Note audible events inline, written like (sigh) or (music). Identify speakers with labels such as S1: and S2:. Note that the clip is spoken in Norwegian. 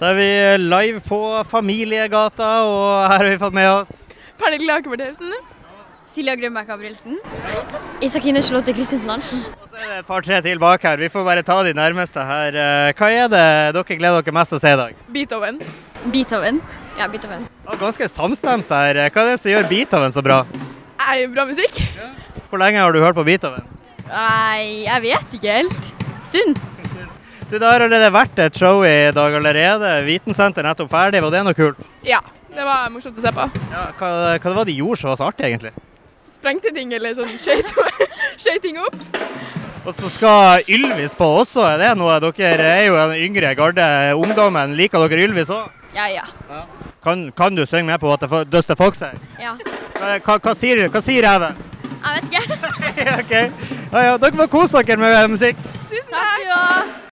S1: Da er vi live på Familiegata, og her har vi fått med oss
S2: Pernille Akeberthausen.
S3: Silja Grønbæk Gabrielsen. Isakine Charlotte Christensen Hansen.
S1: Og så er det et par-tre til bak her. Vi får bare ta de nærmeste her. Eh, Hva er det dere gleder dere mest til å se i dag?
S2: Beethoven.
S3: Beethoven. Ja, Beethoven.
S1: Det var ganske samstemt her. Eh, Hva er det som gjør Beethoven så bra?
S2: Er jo bra musikk.
S1: Hvor lenge har du hørt på Beethoven?
S3: Nei, jeg vet ikke helt. Stund.
S1: Du, Det har allerede vært et show i dag allerede. Vitensenter er nettopp ferdig, var det noe kult?
S2: Ja, det var morsomt å se på.
S1: Ja, hva, hva det var de gjorde som var så artig, egentlig?
S2: Sprengte ting eller sånn skjøt (laughs) skjøt ting opp.
S1: Og så skal Ylvis på også, er det noe? Dere er jo den yngre garde ungdommen. Liker dere Ylvis òg?
S3: Ja, ja.
S1: Kan, kan du synge med på at det er Dusty Fox her?
S3: Ja.
S1: Hva, hva, hva sier du? Hva sier (laughs) reven?
S3: Jeg vet ikke.
S1: OK. Ja, ja, dere får kose dere med musikk.
S2: (laughs) Tusen
S3: Takk,
S2: takk.
S3: du òg.